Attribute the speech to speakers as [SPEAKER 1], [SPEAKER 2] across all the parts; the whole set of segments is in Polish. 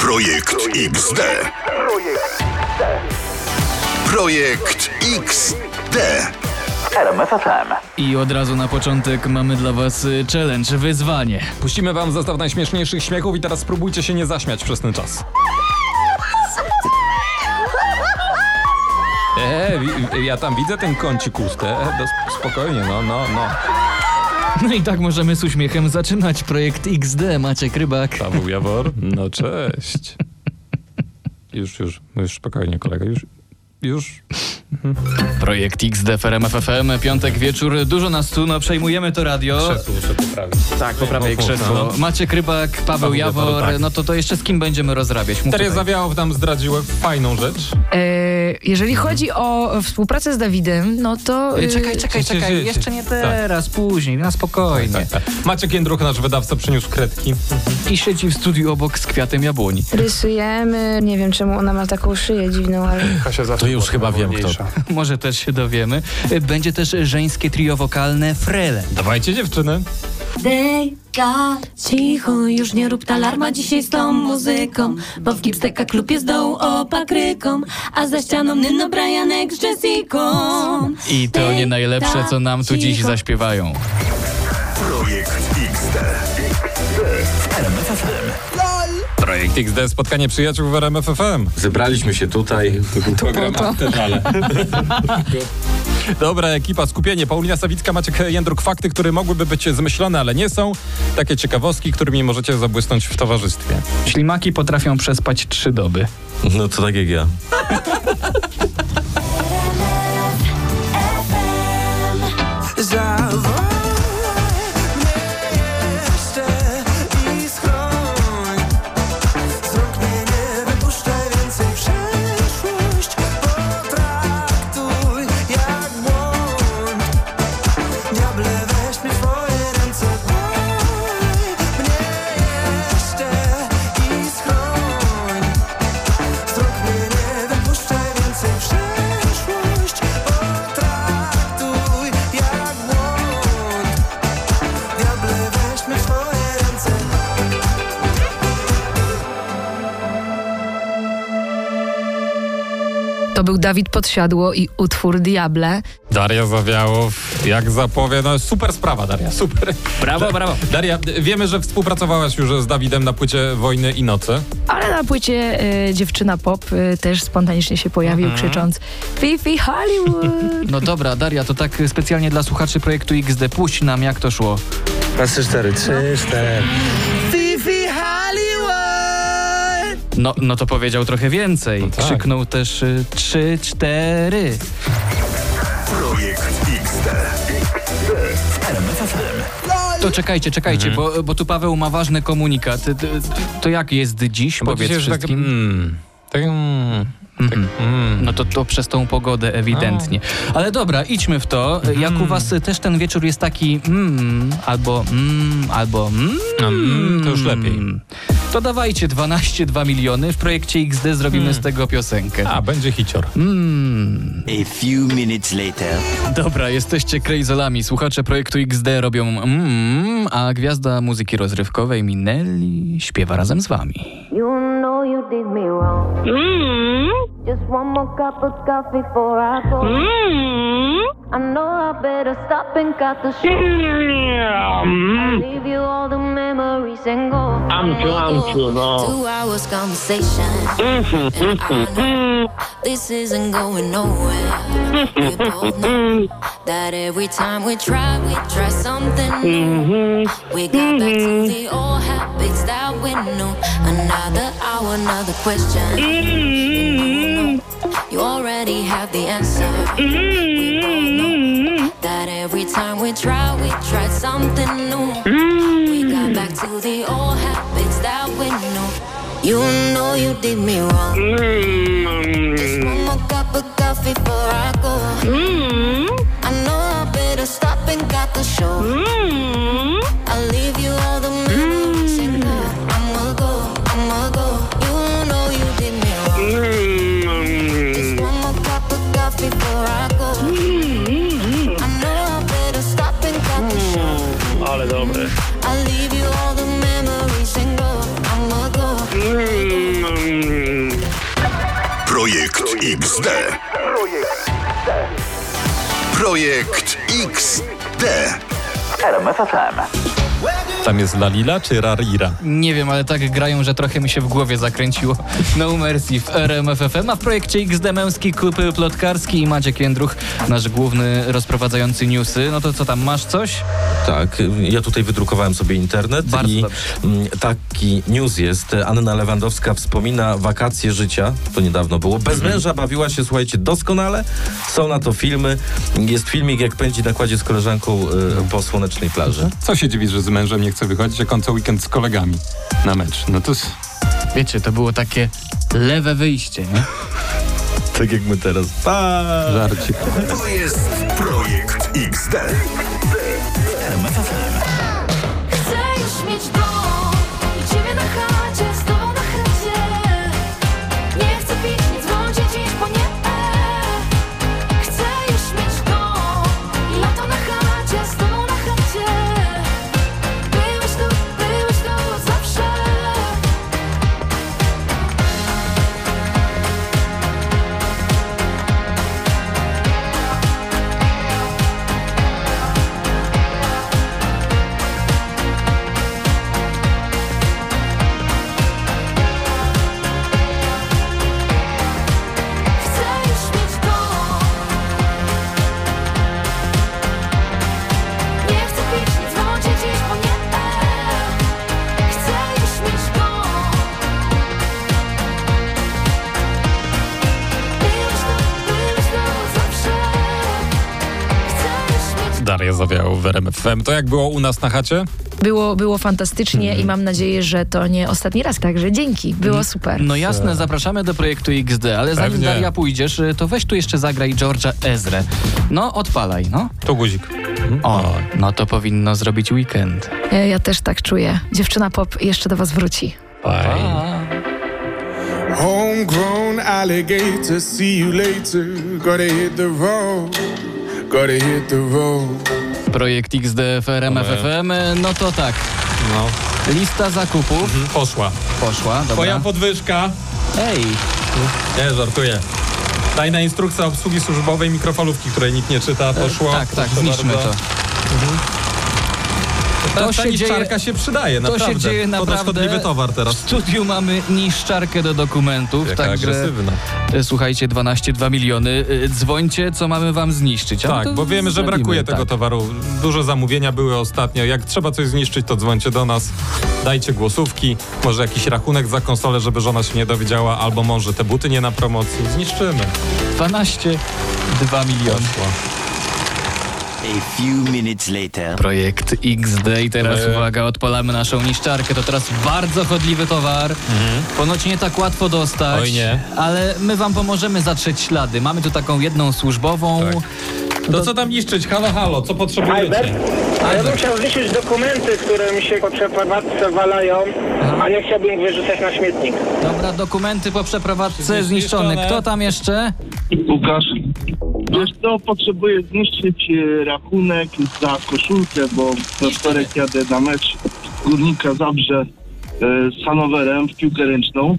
[SPEAKER 1] Projekt XD. Projekt XD.
[SPEAKER 2] I od razu na początek mamy dla was y, challenge, wyzwanie.
[SPEAKER 3] Puścimy wam zestaw najśmieszniejszych śmiechów i teraz spróbujcie się nie zaśmiać przez ten czas. Eee, wi- ja tam widzę ten kącik ust. E, do- spokojnie, no, no, no.
[SPEAKER 2] No i tak możemy z uśmiechem zaczynać projekt XD, Maciek Rybak.
[SPEAKER 3] Paweł Jawor, no cześć. Już, już, już spokojnie kolega, już, już.
[SPEAKER 2] Projekt XD, FRM, FFM, piątek wieczór, dużo nas tu, no przejmujemy to radio.
[SPEAKER 3] muszę poprawić.
[SPEAKER 2] Tak, poprawię
[SPEAKER 3] No, krzesło.
[SPEAKER 2] No. Maciek Rybak, Paweł, Jawor,
[SPEAKER 3] Jawor, tak.
[SPEAKER 2] no to to jeszcze z kim będziemy rozrabiać? Mów
[SPEAKER 3] Teresa
[SPEAKER 2] tutaj.
[SPEAKER 3] Wiałow nam zdradziła fajną rzecz.
[SPEAKER 4] E, jeżeli chodzi o współpracę z Dawidem, no to.
[SPEAKER 2] Y, Tak.
[SPEAKER 4] e,
[SPEAKER 2] Czekaj, czekaj,
[SPEAKER 3] Się, się, się.
[SPEAKER 2] czekaj, jeszcze nie teraz, później, na spokojnie.
[SPEAKER 3] Maciek Jędruch, nasz wydawca, przyniósł kredki.
[SPEAKER 2] I siedzi w studiu obok z kwiatem jabłoni.
[SPEAKER 5] Rysujemy. Nie wiem, czemu ona ma taką szyję dziwną, ale...
[SPEAKER 6] To już chyba wiem kto.
[SPEAKER 2] Może też się dowiemy. Y, Będzie też żeńskie trio wokalne Frele.
[SPEAKER 3] Dawajcie dziewczyny.
[SPEAKER 7] Deka, cicho, już nie rób talarma dzisiaj z tą muzyką Bo w Gipsteka klub jest dołu opakryką A za ścianą Nino Brianek z Jessiką
[SPEAKER 2] I to nie najlepsze, co nam tu dziś
[SPEAKER 7] Cicho.
[SPEAKER 2] zaśpiewają.
[SPEAKER 1] Projekt XD.
[SPEAKER 3] Projekt XD, spotkanie przyjaciół w RMF FM.
[SPEAKER 6] Zebraliśmy się tutaj.
[SPEAKER 3] Dobra ekipa, skupienie. Paulina Sawicka, Maciek Jędruk. Fakty, które mogłyby być zmyślone, ale nie są. Takie ciekawostki, którymi możecie zabłysnąć w towarzystwie.
[SPEAKER 2] Ślimaki potrafią przespać trzy doby.
[SPEAKER 6] No to tak jak ja.
[SPEAKER 4] To był Dawid Podsiadło i utwór Diable.
[SPEAKER 3] Daria Zawiałow, jak zapowie, no super sprawa Daria, super.
[SPEAKER 2] Brawo, brawo.
[SPEAKER 3] Daria, wiemy, że współpracowałaś już z Dawidem na płycie Wojny i Nocy.
[SPEAKER 4] Ale na płycie e, dziewczyna pop e, też spontanicznie się pojawił, krzycząc Fifi Hollywood!
[SPEAKER 2] No dobra, Daria, to tak specjalnie dla słuchaczy projektu XD. Puść nam, jak to szło.
[SPEAKER 8] Raz, trzy, cztery, trzy, cztery.
[SPEAKER 2] No, no to powiedział trochę więcej.
[SPEAKER 8] No
[SPEAKER 3] tak.
[SPEAKER 2] Krzyknął też y, trzy, cztery.
[SPEAKER 1] Projekt XD.
[SPEAKER 2] To czekajcie, czekajcie,
[SPEAKER 8] Mhm.
[SPEAKER 2] bo, bo tu Paweł ma ważny komunikat. Ty- ty- ty- To jak jest dziś,
[SPEAKER 3] Bo
[SPEAKER 2] powiedz
[SPEAKER 3] dzisiaj już
[SPEAKER 2] wszystkim.
[SPEAKER 3] Tak, mm, tak, mm, tak, mm.
[SPEAKER 2] No to, to przez tą pogodę ewidentnie. Ale dobra, idźmy w to. Jak u was y, też ten wieczór jest taki mm, albo mm, albo mm,
[SPEAKER 3] Mm, to już lepiej.
[SPEAKER 2] To dawajcie 12 2 miliony. W projekcie XD zrobimy z tego piosenkę.
[SPEAKER 3] A, będzie hicior.
[SPEAKER 9] A few minutes later.
[SPEAKER 2] Dobra, jesteście krejzolami. Słuchacze projektu XD robią mm, a gwiazda muzyki rozrywkowej Minelli śpiewa razem z wami.
[SPEAKER 7] You know you did me wrong Just one more cup of coffee before I go I know I better stop and cut the show I'll leave you all the memories and go I'm too, I'm too
[SPEAKER 10] Two hours conversation. And I know This isn't going nowhere. We both know that every time we try, we try something new. We got back to the old habits that we knew. Another hour, another question. You already have the answer. We both know that every time we try, we try something new. We got back to the old habits that we knew. You know you did me wrong. Just one more cup of coffee before I go. I know I better stop and got the show. I'll leave you all the memories and go. I'ma go, I'ma go. You know you did me wrong. Just one more cup of coffee before I go. I know I better stop and got the show. I'll leave you all the memories and go. I'ma go.
[SPEAKER 1] XD. Projekt XD.
[SPEAKER 3] Tam jest Lalila czy Rarira?
[SPEAKER 2] Nie wiem, ale tak grają, że trochę mi się w głowie zakręciło. No Mercy w RMFFM, a w projekcie XD Męski, Klub Plotkarski i Maciek Jędruch, nasz główny rozprowadzający newsy. No to co tam, masz coś?
[SPEAKER 6] Tak, ja tutaj wydrukowałem sobie internet
[SPEAKER 2] Bardzo
[SPEAKER 6] i
[SPEAKER 2] dobrze.
[SPEAKER 6] mm, taki news jest. Anna Lewandowska wspomina wakacje życia, to niedawno było. Bez
[SPEAKER 2] Mhm.
[SPEAKER 6] męża bawiła się, słuchajcie, doskonale. Są na to filmy. Jest filmik, jak pędzi na kładzie z koleżanką y, po słonecznej plaży.
[SPEAKER 3] Co się dziwisz, że z mężem nie chce wychodzić, jak on co weekend z kolegami na mecz? No to s-
[SPEAKER 2] Wiecie, to było takie lewe wyjście, nie?
[SPEAKER 6] Tak jak my teraz. Pa!
[SPEAKER 3] żarcik.
[SPEAKER 1] To jest projekt XD.
[SPEAKER 10] Chcę już mieć dom i ciebie na chacie, z tobą na chacie. Nie chcę pić, nie dzwonić dziś, bo nie. Chcę już mieć dom i lato na chacie, z tobą na chacie. Byłeś tu, byłeś tu zawsze. Chcę już mieć dom. Nie chcę pić, nie dzwonić dziś, bo nie. Chcę już mieć dom. Byłeś tu, byłeś tu zawsze. Chcę już mieć
[SPEAKER 3] Daria zawiał w RMFM. To jak było u nas na chacie?
[SPEAKER 4] Było, było fantastycznie i mam nadzieję, że to nie ostatni raz. Także dzięki, było super.
[SPEAKER 2] No jasne, zapraszamy do projektu XD, ale zanim
[SPEAKER 3] Pewnie.
[SPEAKER 2] Daria pójdziesz, y, to weź tu jeszcze zagraj Georgia Ezre. No, odpalaj, no.
[SPEAKER 3] To guzik.
[SPEAKER 2] O, no to powinno zrobić weekend.
[SPEAKER 4] E, Ja też tak czuję. Dziewczyna pop jeszcze do was wróci.
[SPEAKER 3] Fajnie.
[SPEAKER 11] Homegrown alligator, see you later. Gotta hit the road, gotta hit the road.
[SPEAKER 2] Projekt XD w RMF FM, y, no to tak.
[SPEAKER 3] No.
[SPEAKER 2] Lista zakupów
[SPEAKER 3] Mm, Poszła.
[SPEAKER 2] poszła, dobra.
[SPEAKER 3] Mhm. Twoja podwyżka.
[SPEAKER 2] Ej,
[SPEAKER 3] Nie, żartuję. Tajna instrukcja obsługi służbowej mikrofalówki, której nikt nie czyta, poszła.
[SPEAKER 2] tak, tak,
[SPEAKER 3] Proszę
[SPEAKER 2] zniszczmy
[SPEAKER 3] bardzo.
[SPEAKER 2] to. Mhm.
[SPEAKER 3] Ta,
[SPEAKER 2] To
[SPEAKER 3] ta
[SPEAKER 2] się
[SPEAKER 3] niszczarka się przydaje,
[SPEAKER 2] To
[SPEAKER 3] naprawdę.
[SPEAKER 2] się dzieje
[SPEAKER 3] To
[SPEAKER 2] naprawdę.
[SPEAKER 3] szkodliwy towar
[SPEAKER 2] W
[SPEAKER 3] teraz.
[SPEAKER 2] studiu mamy niszczarkę do dokumentów,
[SPEAKER 3] Jaka
[SPEAKER 2] także
[SPEAKER 3] agresywna.
[SPEAKER 2] e, słuchajcie, 12,2 miliony, y, dzwońcie, co mamy wam zniszczyć. A my
[SPEAKER 3] Tak,
[SPEAKER 2] No to
[SPEAKER 3] bo wiemy, że
[SPEAKER 2] zrobimy,
[SPEAKER 3] brakuje tego
[SPEAKER 2] tak.
[SPEAKER 3] towaru. Dużo zamówienia były ostatnio. Jak trzeba coś zniszczyć, to dzwońcie do nas. Dajcie głosówki, może jakiś rachunek za konsolę, żeby żona się nie dowiedziała, albo może te buty nie na promocji. Zniszczymy.
[SPEAKER 2] 12,2 Tak, miliony.
[SPEAKER 3] Poszło.
[SPEAKER 9] A few minutes later.
[SPEAKER 2] Projekt XD i teraz
[SPEAKER 3] Eee.
[SPEAKER 2] uwaga, odpalamy naszą niszczarkę. To teraz bardzo chodliwy towar. Ponoć nie tak łatwo dostać.
[SPEAKER 3] Mhm. Oj nie.
[SPEAKER 2] Ale my wam pomożemy zatrzeć ślady. Mamy tu taką jedną służbową.
[SPEAKER 3] Tak.
[SPEAKER 2] No
[SPEAKER 3] To co tam niszczyć? Halo, halo, co potrzebujecie?
[SPEAKER 12] Ja bym chciał zniszczyć dokumenty, które mi się po przeprowadzce walają, a nie chciałbym ich wyrzucać na śmietnik.
[SPEAKER 2] Dobra, dokumenty po przeprowadzce zniszczone.
[SPEAKER 3] Zniszczone.
[SPEAKER 2] Kto tam jeszcze?
[SPEAKER 13] Łukasz. Wiesz co, potrzebuję zniszczyć e, rachunek za koszulkę, bo we wtorek jadę na mecz Górnika Zabrze e, z Hanowerem w piłkę ręczną.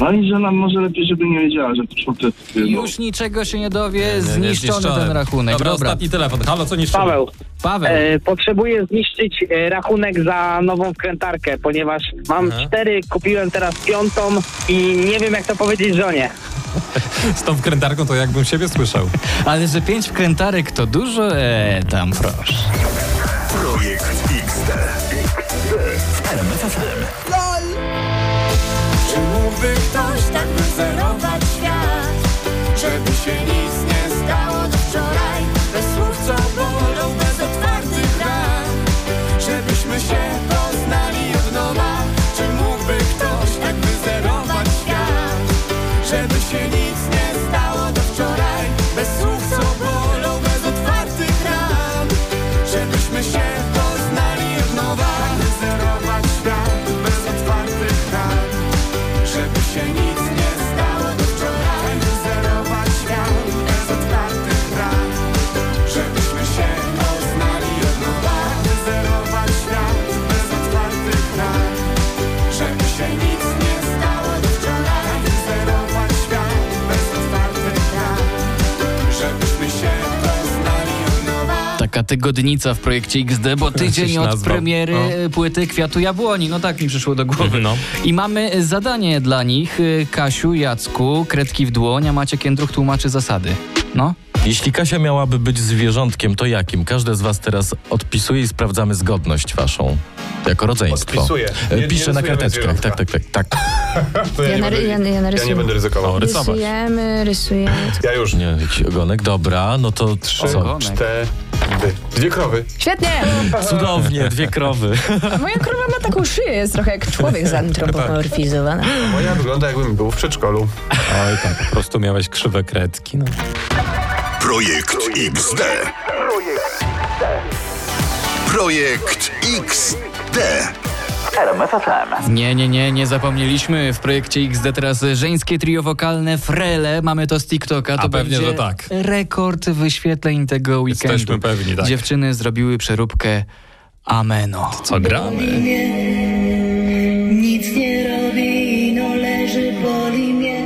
[SPEAKER 13] No i że nam może lepiej, żeby nie wiedziała, że koszulkę... e, no.
[SPEAKER 2] Już niczego się nie dowie. zniszczony ten rachunek.
[SPEAKER 3] Dobra,
[SPEAKER 2] Dobra,
[SPEAKER 3] ostatni telefon. Halo, co niszczymy?
[SPEAKER 12] Paweł,
[SPEAKER 2] Paweł.
[SPEAKER 12] e, potrzebuję zniszczyć e, rachunek za nową wkrętarkę, ponieważ mam cztery, kupiłem teraz piątą i nie wiem jak to powiedzieć żonie.
[SPEAKER 3] Z tą wkrętarką to jakbym siebie słyszał. Tak,
[SPEAKER 2] Ale że pięć wkrętarek to dużo? Eee, tam proszę.
[SPEAKER 1] Projekt XD.
[SPEAKER 10] Czy mógłby ktoś tak wyzerować świat, żeby się nic nie stało do wczoraj? Bez słów, co bolą, bez otwartych ran, żebyśmy się poznali od nowa. Czy mógłby ktoś tak wyzerować świat, żeby się nic nie stało do wczoraj? Bez słów, co bolą, bez otwartych ran, żebyśmy się poznali od nowa. Wyzerować świat bez otwartych ran. Żeby się nic nie stało do wczoraj Zerować świat
[SPEAKER 2] taka tygodnica w projekcie XD, bo tydzień
[SPEAKER 3] Żeś
[SPEAKER 2] od
[SPEAKER 3] nazwał.
[SPEAKER 2] premiery
[SPEAKER 3] No.
[SPEAKER 2] y, płyty Kwiatu Jabłoni. No tak mi przyszło do głowy.
[SPEAKER 3] No.
[SPEAKER 2] I mamy zadanie dla nich. Y, Kasiu, Jacku, kredki w dłoń, a Maciek Jędruch tłumaczy zasady. No.
[SPEAKER 6] Jeśli Kasia miałaby być zwierzątkiem, to jakim? Każde z was teraz odpisuje i sprawdzamy zgodność waszą. Jako rodzeństwo.
[SPEAKER 14] Odpisuję.
[SPEAKER 6] E,
[SPEAKER 14] Nie- nie
[SPEAKER 6] Pisze na
[SPEAKER 14] rysujemy
[SPEAKER 6] karteczkach.
[SPEAKER 14] zwierzątka.
[SPEAKER 6] Tak, tak, tak, tak.
[SPEAKER 14] To ja,
[SPEAKER 5] Ja
[SPEAKER 14] nie
[SPEAKER 5] na-
[SPEAKER 14] będę,
[SPEAKER 5] ja-
[SPEAKER 14] ja
[SPEAKER 5] ja
[SPEAKER 14] nie
[SPEAKER 5] narysuję.
[SPEAKER 14] będę ryzykował.
[SPEAKER 6] O, rysować.
[SPEAKER 5] Rysujemy, rysujemy.
[SPEAKER 14] Ja już.
[SPEAKER 6] Nie, jakiś ogonek. Dobra, no to trzy,
[SPEAKER 14] cztery. Dwie krowy.
[SPEAKER 5] Świetnie!
[SPEAKER 6] Cudownie, dwie krowy.
[SPEAKER 5] Moja krowa ma taką szyję, jest trochę jak człowiek zantropomorfizowana.
[SPEAKER 14] Moja wygląda jakbym był w przedszkolu.
[SPEAKER 3] Oj, tak, po prostu miałeś krzywe kredki. No.
[SPEAKER 1] Projekt XD. Projekt XD. RMFFM.
[SPEAKER 2] Nie, nie, nie, nie zapomnieliśmy. W projekcie XD teraz żeńskie trio wokalne Frele. Mamy to z TikToka. To
[SPEAKER 3] A pewnie,
[SPEAKER 2] będzie
[SPEAKER 3] że tak.
[SPEAKER 2] rekord wyświetleń tego weekendu.
[SPEAKER 3] Jesteśmy pewni, tak.
[SPEAKER 2] Dziewczyny zrobiły przeróbkę Ameno.
[SPEAKER 3] Co gramy?
[SPEAKER 10] Nic nie robi, ino leży, boli mnie.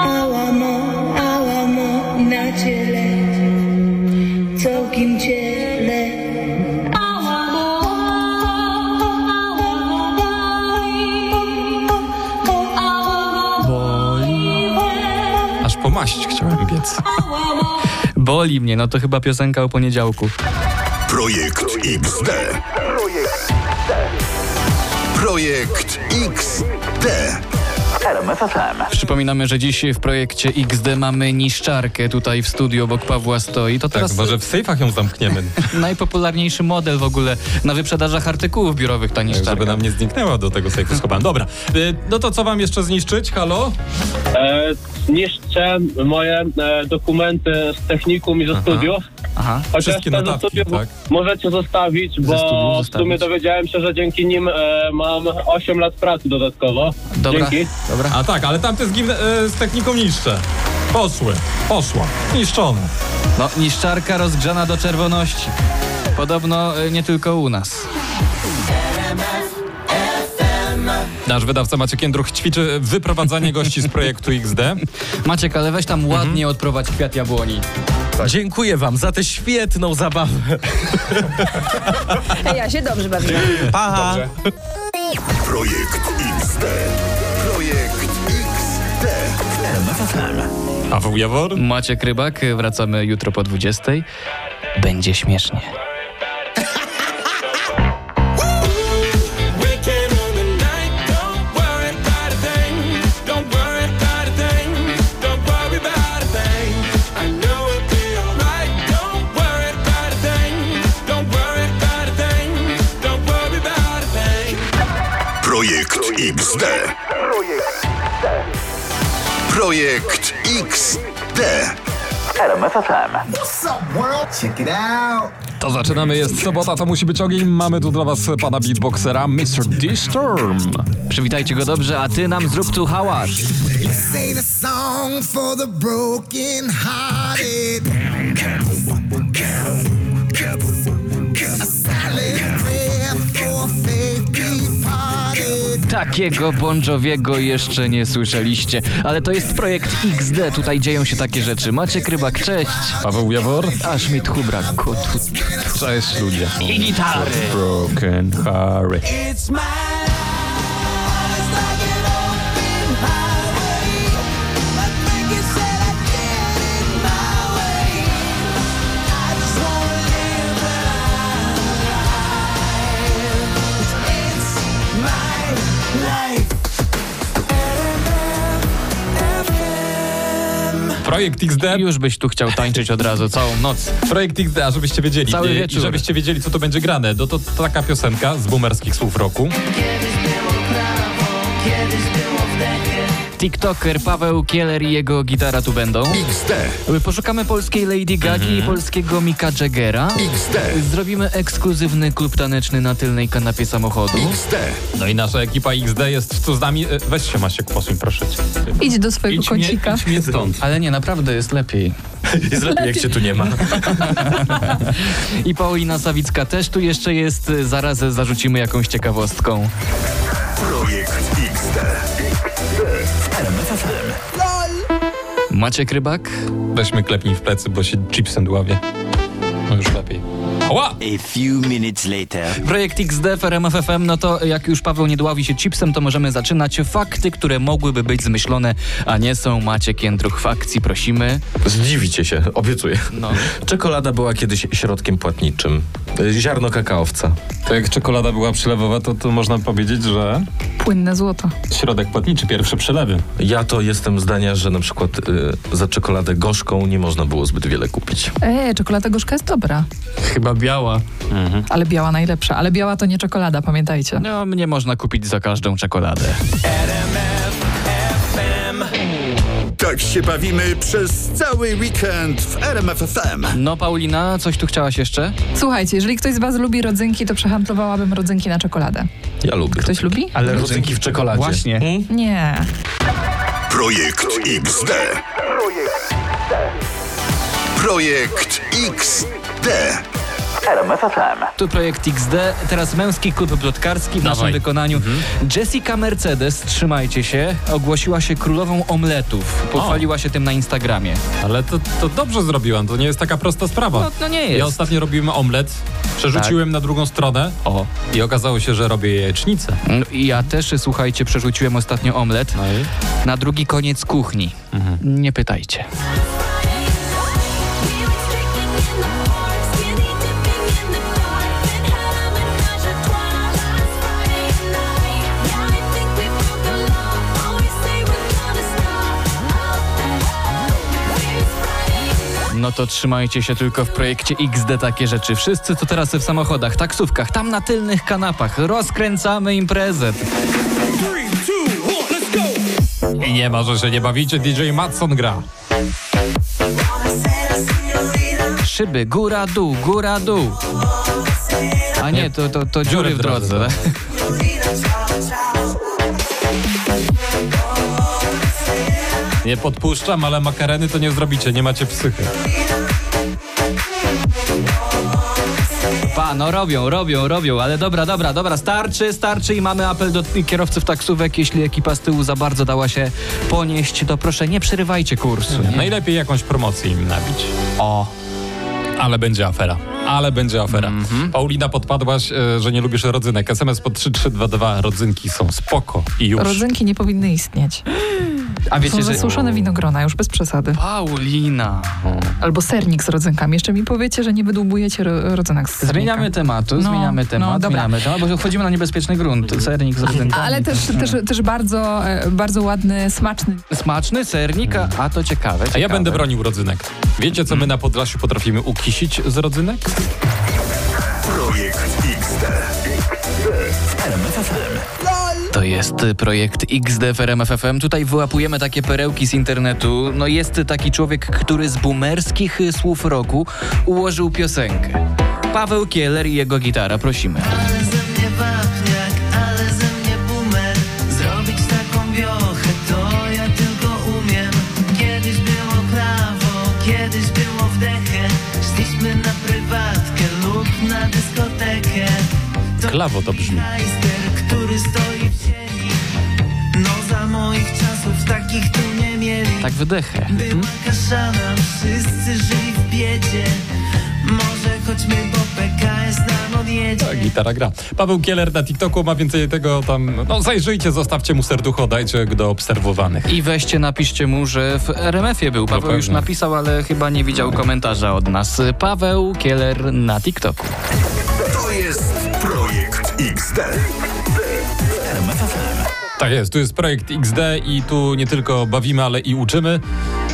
[SPEAKER 10] Ałamo, ałamo na ciele, całkiem ciele. Ałamo, ałamo, boli.
[SPEAKER 3] Aż po maść chciałem biec.
[SPEAKER 2] Boli mnie, no to chyba piosenka o poniedziałku.
[SPEAKER 1] Projekt XD. Projekt XD. RMFFM.
[SPEAKER 2] Przypominamy, że dziś w projekcie XD mamy niszczarkę tutaj w studiu obok Pawła stoi. To
[SPEAKER 3] Tak,
[SPEAKER 2] teraz
[SPEAKER 3] może w sejfach ją zamkniemy,
[SPEAKER 2] najpopularniejszy model w ogóle na wyprzedażach artykułów biurowych ta
[SPEAKER 3] Tak, żeby
[SPEAKER 2] niszczarka.
[SPEAKER 3] nam nie zniknęła do tego sejfu schowałem. Dobra, y, no to co wam jeszcze zniszczyć? Halo?
[SPEAKER 15] E, niszczę moje e, dokumenty z technikum i ze studiów.
[SPEAKER 2] Aha.
[SPEAKER 15] Chociaż
[SPEAKER 3] Wszystkie
[SPEAKER 15] te ze
[SPEAKER 3] notatki,
[SPEAKER 15] studiów
[SPEAKER 3] tak?
[SPEAKER 15] możecie zostawić, bo w sumie dowiedziałem się, że dzięki nim e, mam 8 lat pracy dodatkowo. Dzięki.
[SPEAKER 2] Dobra.
[SPEAKER 3] A tak, ale tamte z, gimna- y, z techniką niszczę. Poszły, poszła, niszczone.
[SPEAKER 2] No, niszczarka rozgrzana do czerwoności. Podobno y, nie tylko u nas.
[SPEAKER 3] Nasz wydawca Maciek Jędruch ćwiczy wyprowadzanie gości z projektu XD.
[SPEAKER 2] Maciek, ale weź tam ładnie odprowadź kwiat jabłoni.
[SPEAKER 6] Dziękuję wam za tę świetną zabawę.
[SPEAKER 5] Ej, ja się dobrze bawiłam.
[SPEAKER 6] Aha.
[SPEAKER 1] Projekt XD. Projekt XD. W RMFFM.
[SPEAKER 3] A w Jawor?
[SPEAKER 2] Maciek Rybak, wracamy jutro po 20. Będzie śmiesznie.
[SPEAKER 10] Weekend on the night, don't worry about a thing. Don't worry about a thing. Don't worry about a thing. I know it'll be alright. Don't worry about a thing. Don't worry about a thing. Don't worry about a thing.
[SPEAKER 1] Projekt XD. Projekt XD. RMFFM.
[SPEAKER 16] What's up, world? Check it out.
[SPEAKER 3] To zaczynamy, jest sobota, to musi być ogień. Mamy tu dla was pana beatboxera Mr. D-Storm.
[SPEAKER 2] Przywitajcie go dobrze, a ty nam zrób tu hałas.
[SPEAKER 16] This ain't a song for the broken hearted. A silent prayer for faith departed.
[SPEAKER 2] Takiego Bądżowiego jeszcze nie słyszeliście, ale to jest projekt XD, tutaj dzieją się takie rzeczy. Maciek Rybak, cześć!
[SPEAKER 3] Paweł Jawor?
[SPEAKER 2] Aż mi tchubra kotu.
[SPEAKER 3] Cześć ludzie.
[SPEAKER 2] I gitary.
[SPEAKER 3] Broken Harry.
[SPEAKER 10] It's my
[SPEAKER 3] Projekt XD.
[SPEAKER 2] E, Już byś tu chciał tańczyć od razu, całą noc.
[SPEAKER 3] Projekt XD, a żebyście wiedzieli.
[SPEAKER 2] Cały
[SPEAKER 3] i-
[SPEAKER 2] wieczór.
[SPEAKER 3] I żebyście wiedzieli, co to będzie grane. No to taka piosenka z boomerskich słów roku.
[SPEAKER 2] TikToker Paweł Kieler i jego gitara tu będą.
[SPEAKER 1] XD.
[SPEAKER 2] Poszukamy polskiej Lady Gagi i polskiego Mika Jaggera.
[SPEAKER 1] XD.
[SPEAKER 2] Zrobimy ekskluzywny klub taneczny na tylnej kanapie samochodu.
[SPEAKER 1] XD.
[SPEAKER 3] No i nasza ekipa XD jest tu z nami. E, Weź się Masiek, posuń proszę cię.
[SPEAKER 4] Idź do swojego
[SPEAKER 3] Idź mnie,
[SPEAKER 4] kącika.
[SPEAKER 3] idź mnie stąd.
[SPEAKER 2] Ale nie, naprawdę jest lepiej.
[SPEAKER 6] Jest lepiej, jak cię tu nie ma.
[SPEAKER 2] I Paulina Sawicka też tu jeszcze jest. Zaraz zarzucimy jakąś ciekawostką.
[SPEAKER 1] Projekt XD. W RMFFM.
[SPEAKER 2] Maciek Rybak?
[SPEAKER 3] Weźmy klepnij w plecy, bo się chipsem dławie. No już lepiej. Ała!
[SPEAKER 17] A few minutes later.
[SPEAKER 2] Projekt XD w RMF FM, no to jak już Paweł nie dławi się chipsem, to możemy zaczynać. Fakty, które mogłyby być zmyślone, a nie są. Maciek Jędruch w akcji, prosimy.
[SPEAKER 18] Zdziwicie się, obiecuję.
[SPEAKER 3] No.
[SPEAKER 18] Czekolada była kiedyś środkiem płatniczym. Y, Ziarno kakaowca.
[SPEAKER 3] To jak czekolada była przelewowa, to, to można powiedzieć, że
[SPEAKER 19] Płynne złoto.
[SPEAKER 3] środek płatniczy, pierwsze przelewy.
[SPEAKER 18] Ja to jestem zdania, że na przykład y, za czekoladę gorzką nie można było zbyt wiele kupić.
[SPEAKER 4] Eee, czekolada gorzka jest dobra,
[SPEAKER 2] Chyba biała.
[SPEAKER 4] ale biała najlepsza. Ale biała to nie czekolada, pamiętajcie.
[SPEAKER 2] No, mnie można kupić za każdą czekoladę.
[SPEAKER 1] Tak się bawimy przez cały weekend w RMF FM.
[SPEAKER 2] No, Paulina, coś tu chciałaś jeszcze?
[SPEAKER 4] Słuchajcie, jeżeli ktoś z was lubi rodzynki, to przehandlowałabym rodzynki na czekoladę.
[SPEAKER 18] Ja lubię.
[SPEAKER 4] Ktoś lubi? Hmm?
[SPEAKER 18] Ale rodzynki w Hmm? czekoladzie.
[SPEAKER 2] Właśnie.
[SPEAKER 4] Nie.
[SPEAKER 1] Projekt XD. Projekt XD. RMF FM.
[SPEAKER 2] Tu projekt XD, teraz męski klub plotkarski w naszym wykonaniu. Jessica Mercedes, trzymajcie się, ogłosiła się królową omletów. Pochwaliła się tym na Instagramie.
[SPEAKER 3] Ale to, to dobrze zrobiłam, to nie jest taka prosta sprawa.
[SPEAKER 2] No- no nie jest. Tak.
[SPEAKER 3] Ja ostatnio robiłem omlet, przerzuciłem na drugą stronę
[SPEAKER 2] o.
[SPEAKER 3] i okazało się, że robię jajecznicę.
[SPEAKER 2] No i ja też, słuchajcie, przerzuciłem ostatnio omlet na drugi koniec kuchni. Nie pytajcie. No to trzymajcie się tylko w projekcie XD takie rzeczy. Wszyscy to teraz w samochodach, taksówkach, tam na tylnych kanapach. Rozkręcamy imprezę.
[SPEAKER 3] I nie ma, że się nie bawicie, DJ Matson gra.
[SPEAKER 2] Szyby, góra, dół, góra, dół. A nie, to, to, to dziury w drodze. tak?
[SPEAKER 3] Nie podpuszczam, ale makareny to nie zrobicie, nie macie psychy.
[SPEAKER 2] Mhm. Pa, no robią, robią, robią, ale dobra, dobra, dobra, starczy, starczy i mamy apel do kierowców taksówek. Jeśli ekipa z tyłu za bardzo dała się ponieść, to proszę nie przerywajcie kursu. Nie?
[SPEAKER 3] Najlepiej jakąś promocję im nabić.
[SPEAKER 2] O.
[SPEAKER 3] Ale będzie afera. Ale będzie afera.
[SPEAKER 2] Mhm.
[SPEAKER 3] Paulina, podpadłaś, e, że nie lubisz rodzynek. SMS pod 3322. Rodzynki są spoko i już.
[SPEAKER 4] Rodzynki nie powinny istnieć.
[SPEAKER 2] A wiecie,
[SPEAKER 4] Są
[SPEAKER 2] że-
[SPEAKER 4] zasuszone winogrona, już bez przesady.
[SPEAKER 2] Paulina.
[SPEAKER 4] Albo sernik z rodzynkami. Jeszcze mi powiecie, że nie wydłubujecie ro- rodzynek z sernika.
[SPEAKER 2] Zmieniamy tematu,
[SPEAKER 4] No,
[SPEAKER 2] zmieniamy
[SPEAKER 4] no,
[SPEAKER 2] temat,
[SPEAKER 4] dobra.
[SPEAKER 2] zmieniamy temat, bo wchodzimy na niebezpieczny grunt. Sernik z rodzynkami.
[SPEAKER 4] Ale też,
[SPEAKER 18] Hmm.
[SPEAKER 4] też, też bardzo, e, bardzo ładny, smaczny.
[SPEAKER 2] Smaczny sernik, a- a to ciekawe.
[SPEAKER 3] A ja
[SPEAKER 2] ciekawe.
[SPEAKER 3] będę bronił rodzynek. Wiecie, co my na Podlasiu potrafimy ukisić z rodzynek?
[SPEAKER 1] Projekt XD. W RMF FM.
[SPEAKER 2] To jest y, projekt XD w RMF FM. Tutaj wyłapujemy takie perełki z internetu. No jest taki człowiek, który z boomerskich y, słów roku ułożył piosenkę. Paweł Kieler i jego gitara, prosimy.
[SPEAKER 6] Ale ze mnie wapniak, ale ze mnie boomer Zrobić taką wiochę to ja tylko umiem Kiedyś było prawo, kiedyś było wdechę Szliśmy na prywatkę lub na dyskotekę
[SPEAKER 3] Klawo to brzmi.
[SPEAKER 6] Majster, który stoi w sieni No za moich czasów takich tu nie mieli
[SPEAKER 2] Tak wydechę.
[SPEAKER 6] Była
[SPEAKER 3] Mhm.
[SPEAKER 6] kaszana, wszyscy żyli w biedzie Może chodźmy, bo PKS nam odjedzie
[SPEAKER 3] Tak, Gitara gra. Paweł Kieler na TikToku ma więcej tego tam. No zajrzyjcie, zostawcie mu serducho, dajcie go do obserwowanych.
[SPEAKER 2] I weźcie, napiszcie mu, że w RMF-ie był. Paweł już napisał, ale chyba nie widział komentarza od nas. Paweł Kieler na TikToku.
[SPEAKER 1] To jest projekt XD. W RMF FM.
[SPEAKER 3] Tak jest, tu jest projekt XD i tu nie tylko bawimy, ale i uczymy.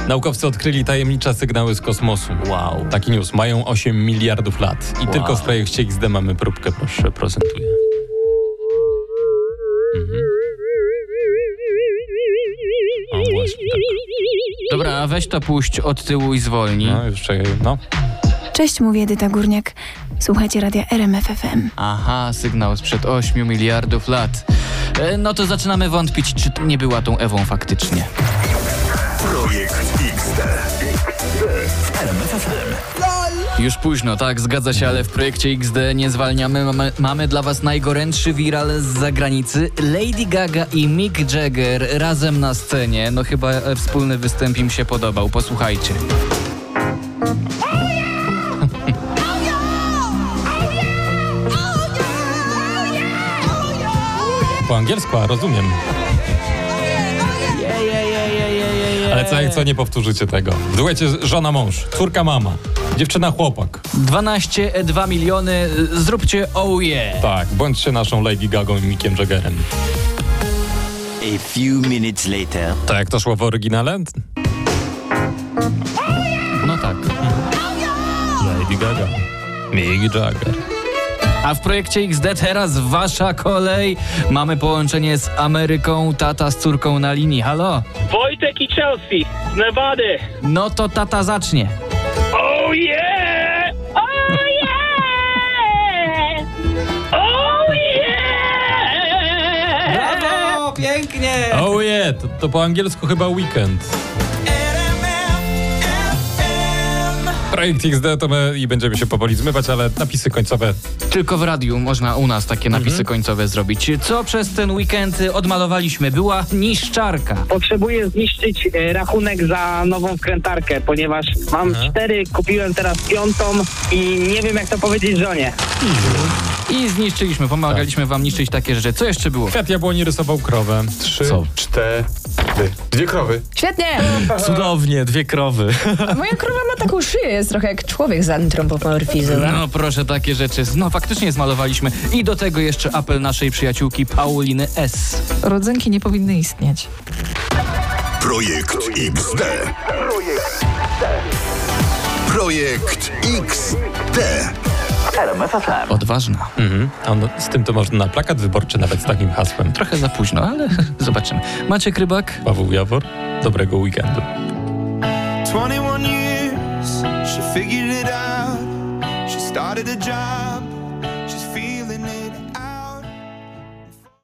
[SPEAKER 3] Naukowcy odkryli tajemnicze sygnały z kosmosu. Wow. Taki news. Mają 8 miliardów lat. I
[SPEAKER 1] Wow.
[SPEAKER 3] tylko w projekcie XD mamy próbkę, proszę, prezentuję. Mhm. O, właśnie, tak.
[SPEAKER 2] Dobra, a weź to puść od tyłu i zwolnij. No,
[SPEAKER 3] już czekaj, no.
[SPEAKER 7] Cześć, mówię Edyta Górniak. Słuchajcie radia RMFFM.
[SPEAKER 2] Aha, sygnał sprzed 8 miliardów lat. E, No to zaczynamy wątpić, czy nie była tą Ewą faktycznie.
[SPEAKER 1] Projekt XD. W RMF FM.
[SPEAKER 2] Już późno, tak, zgadza się, ale w projekcie XD nie zwalniamy. Mamy, mamy dla Was najgorętszy viral z zagranicy. Lady Gaga i Mick Jagger razem na scenie. No chyba e, wspólny występ im się podobał. Posłuchajcie.
[SPEAKER 3] po angielsku, a rozumiem. Ale co jak co nie powtórzycie tego? W duecie żona mąż, córka mama, dziewczyna chłopak.
[SPEAKER 2] 12,2 miliony, zróbcie oh yeah.
[SPEAKER 3] Tak, bądźcie naszą Lady Gagą i Mickiem Jaggerem.
[SPEAKER 9] A few minutes later.
[SPEAKER 3] To jak to szło w oryginale?
[SPEAKER 2] No tak.
[SPEAKER 3] Lady Gaga. Mick Jagger.
[SPEAKER 2] A w projekcie XD teraz wasza kolej. Mamy połączenie z Ameryką, tata z córką na linii. Halo?
[SPEAKER 20] Wojtek i Chelsea z Nevady.
[SPEAKER 2] No to tata zacznie.
[SPEAKER 20] Oh yeah! Oh yeah! Oh yeah!
[SPEAKER 2] Brawo, pięknie!
[SPEAKER 3] Oh yeah, to, to po angielsku chyba weekend. Projekt XD to my i będziemy się powoli zmywać, ale napisy końcowe
[SPEAKER 2] Tylko w radiu można u nas takie napisy końcowe zrobić. Co przez ten weekend y, odmalowaliśmy? Była niszczarka.
[SPEAKER 12] Potrzebuję zniszczyć e, rachunek za nową wkrętarkę, ponieważ mam cztery, kupiłem teraz piątą i nie wiem jak to powiedzieć żonie.
[SPEAKER 2] I zniszczyliśmy, pomagaliśmy wam niszczyć takie rzeczy. Co jeszcze było?
[SPEAKER 3] Kwiat jabłoni rysował krowę.
[SPEAKER 14] Trzy, cztery. Dwie krowy.
[SPEAKER 21] Świetnie!
[SPEAKER 6] Cudownie, dwie krowy.
[SPEAKER 21] A Moja krowa ma taką szyję, jest trochę jak człowiek z antropomorfizmem.
[SPEAKER 2] No proszę, takie rzeczy. No faktycznie zmalowaliśmy. I do tego jeszcze apel naszej przyjaciółki Pauliny S.
[SPEAKER 22] Rodzynki nie powinny istnieć.
[SPEAKER 1] Projekt XD. Projekt XD.
[SPEAKER 2] Odważna.
[SPEAKER 3] Mhm. A no, z tym to można na plakat wyborczy nawet z takim hasłem.
[SPEAKER 2] Trochę za późno, ale zobaczymy. Maciek Rybak.
[SPEAKER 3] Paweł Jawor, dobrego weekendu.
[SPEAKER 23] 21 years, she figured it out. She started a job.